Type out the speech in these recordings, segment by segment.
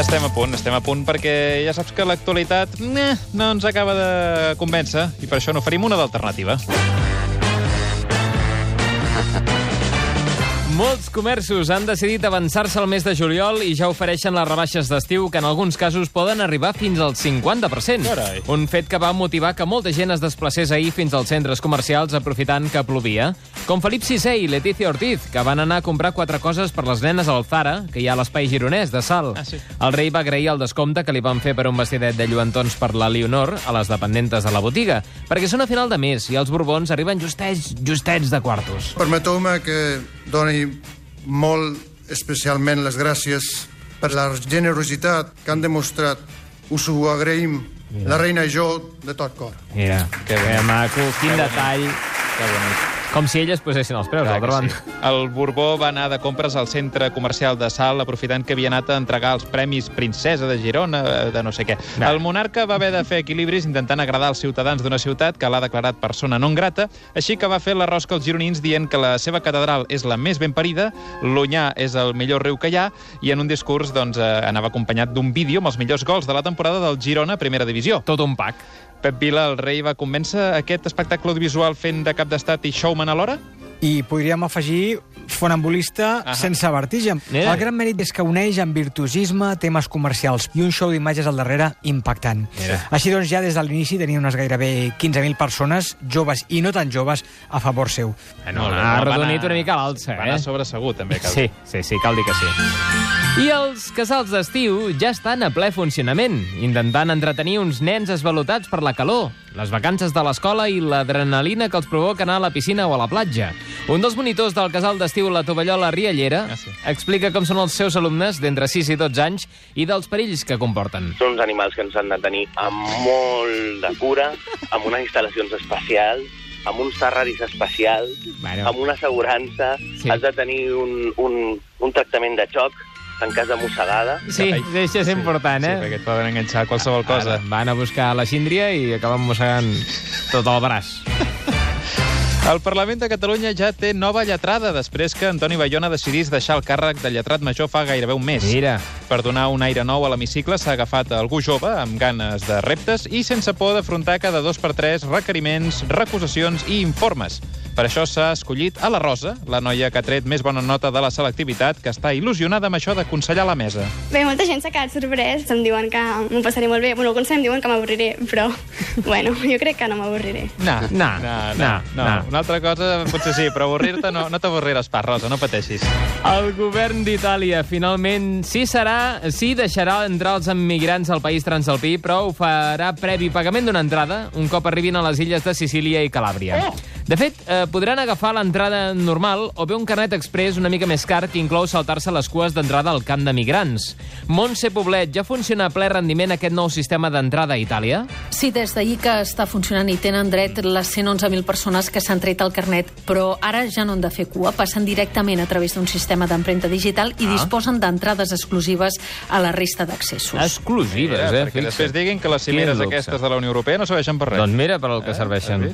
Estem a punt, estem a punt, perquè ja saps que l'actualitat eh, no ens acaba de convèncer, i per això n'oferim una d'alternativa. Molts comerços han decidit avançar-se al mes de juliol i ja ofereixen les rebaixes d'estiu que en alguns casos poden arribar fins al 50%. Carai. Un fet que va motivar que molta gent es desplacés ahir fins als centres comercials aprofitant que plovia. Com Felip Sisè i Letícia Ortiz, que van anar a comprar quatre coses per les nenes al Zara, que hi ha a l'espai gironès de Sal. Ah, sí. El rei va agrair el descompte que li van fer per un vestidet de lluentons per la Leonor a les dependentes de la botiga, perquè són a final de mes i els borbons arriben justets, justets de quartos. Permeteu-me que doni molt especialment les gràcies per la generositat que han demostrat. Us ho agraïm, la reina i jo, de tot cor. Mira, que, que maco, quin detall. Que bonic. Com si elles posessin els preus, d'altra Clar que banda. sí. El Borbó va anar de compres al centre comercial de Sal, aprofitant que havia anat a entregar els premis Princesa de Girona, eh, de no sé què. Va. El monarca va haver de fer equilibris intentant agradar als ciutadans d'una ciutat que l'ha declarat persona non grata, així que va fer la rosca als gironins dient que la seva catedral és la més ben parida, l'Onyà és el millor riu que hi ha, i en un discurs doncs, eh, anava acompanyat d'un vídeo amb els millors gols de la temporada del Girona a Primera Divisió. Tot un pack. Pep Vila, el rei, va convèncer aquest espectacle audiovisual fent de cap d'estat i showman alhora? I podríem afegir fonambulista Ahà. sense vertigen. Eh. El gran mèrit és que uneix amb virtuosisme temes comercials i un show d'imatges al darrere impactant. Així doncs, ja des de l'inici tenia unes gairebé 15.000 persones, joves i no tan joves, a favor seu. Bueno, Molt bé, ha va arrodonit anar- una mica a l'alça, Va eh? anar sobre segur, també. Cal. Sí, sí, sí, cal dir que sí. I els casals d'estiu ja estan a ple funcionament, intentant entretenir uns nens esvalotats per la calor, les vacances de l'escola i l'adrenalina que els provoca anar a la piscina o a la platja. Un dels monitors del casal d'estiu La Tovallola Riallera Ah, sí. explica com són els seus alumnes d'entre 6 i 12 anys i dels perills que comporten. Són uns animals que ens han de tenir amb molt de cura, amb unes instal·lacions especials, amb uns terraris especials, Bueno. amb una assegurança. Sí. Has de tenir un, un, un tractament de xoc en cas de mossegada. Sí, Carai. això és important, sí, eh? Sí, perquè et poden enganxar a qualsevol cosa. Ara, van a buscar la síndria i acaben mossegant tot el braç. El Parlament de Catalunya ja té nova lletrada després que Antoni Bayona decidís deixar el càrrec de lletrat major fa gairebé un mes. Mira, Per donar un aire nou a l'hemicicle s'ha agafat algú jove amb ganes de reptes i sense por d'afrontar cada dos per tres requeriments, recusacions i informes. Per això s'ha escollit a la Rosa, la noia que ha tret més bona nota de la selectivitat, que està il·lusionada amb això d'aconsellar la mesa. Bé, molta gent s'ha quedat sorprès, em diuen que m'ho passaré molt bé. Bueno, alguns em diuen que m'avorriré, però, bueno, jo crec que no m'avorriré. No, No, no, no. Una altra cosa potser sí, però avorrir-te no, no t'avorriràs pas, Rosa, no pateixis. el govern d'Itàlia finalment sí serà, sí deixarà entrar els emigrants al país transalpí, però ho farà previ pagament d'una entrada un cop arribin a les illes de Sicília i Calàbria. Oh! De fet, eh, podran agafar l'entrada normal o bé un carnet express una mica més car que inclou saltar-se les cues d'entrada al camp de migrants. Montse Poblet, ja funciona a ple rendiment aquest nou sistema d'entrada a Itàlia? Sí, des d'ahir que està funcionant i tenen dret les 111.000 persones que s'han tret el carnet, però ara ja no han de fer cua, passen directament a través d'un sistema d'empremta digital i ah. disposen d'entrades exclusives a la resta d'accessos. Exclusives, Mira, eh? perquè fixa't. després diguin que les Quin cimeres luxe. aquestes de la Unió Europea no serveixen per res. Eh? Doncs mira per al que serveixen.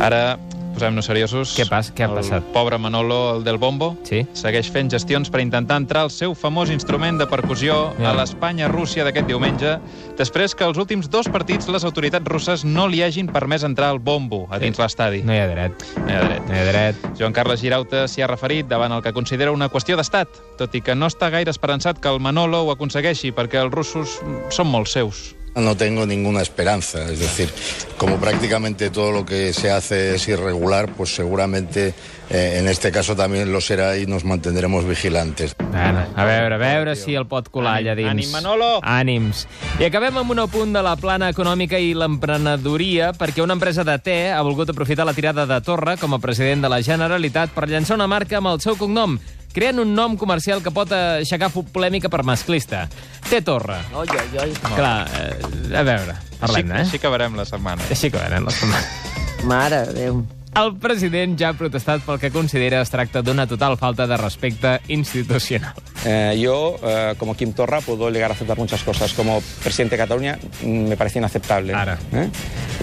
Ara posem-nos seriosos. Què pas- què ha el passat? pobre Manolo, el del bombo, Sí. segueix fent gestions per intentar entrar al seu famós instrument de percussió Ja. a l'Espanya-Rússia d'aquest diumenge, després que els últims dos partits les autoritats russes no li hagin permès entrar al bombo a dins l'estadi. No hi ha dret. No hi ha dret. No hi ha dret. Joan Carles Girauta s'hi ha referit davant el que considera una qüestió d'estat, tot i que no està gaire esperançat que el Manolo ho aconsegueixi, perquè els russos són molt seus. No tengo ninguna esperanza, es decir, como prácticamente todo lo que se hace es irregular, pues seguramente eh, en este caso también lo será y nos mantendremos vigilantes. Bueno, a veure, a veure si el pot colar Ànim, allà dins. ànim, Manolo! Ànims. I acabem amb un punt de la plana econòmica i l'emprenedoria, perquè una empresa de te ha volgut aprofitar la tirada de Torra com a president de la Generalitat per llançar una marca amb el seu cognom, creant un nom comercial que pot eh, aixecar fu- polèmica per masclista. Té Torra. Oi, oi, oi. Clar, eh, a veure, parlem-ne, eh? Així, així acabarem la setmana. Així que venen les setmanes. Mare de Déu. El president ja ha protestat pel que considera es tracta d'una total falta de respecte institucional. Eh, yo, eh, como Kim Torra, puedo llegar a aceptar muchas cosas. Como presidente de Cataluña, mm, me parece inaceptable. Ara. ¿eh?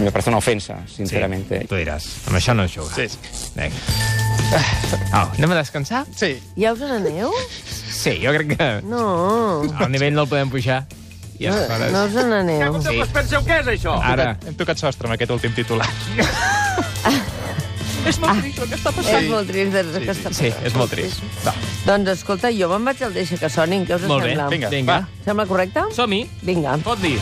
Me parece una ofensa, sinceramente. tu diràs. Amb això no es juga. Sí, sí. Vinga. Au, anem a descansar? Sí. Ja us n'aneu? Sí, jo crec que No, al nivell no el podem pujar. I aleshores... no us n'aneu. Sí. Penseu què és això? Ara. Ara. Hem tocat sostre amb aquest últim titular. És molt trist. doncs, que Sí, està passant. és molt trist. Va, Doncs escolta, jo me'n vaig al Deixa que sonin, què us molt bé. sembla? Vinga. Vinga, Vinga. Va. va. Sembla correcte? Som-hi. Vinga. Pot dir.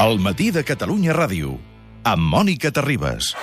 El matí de Catalunya Ràdio, amb Mònica Terribas.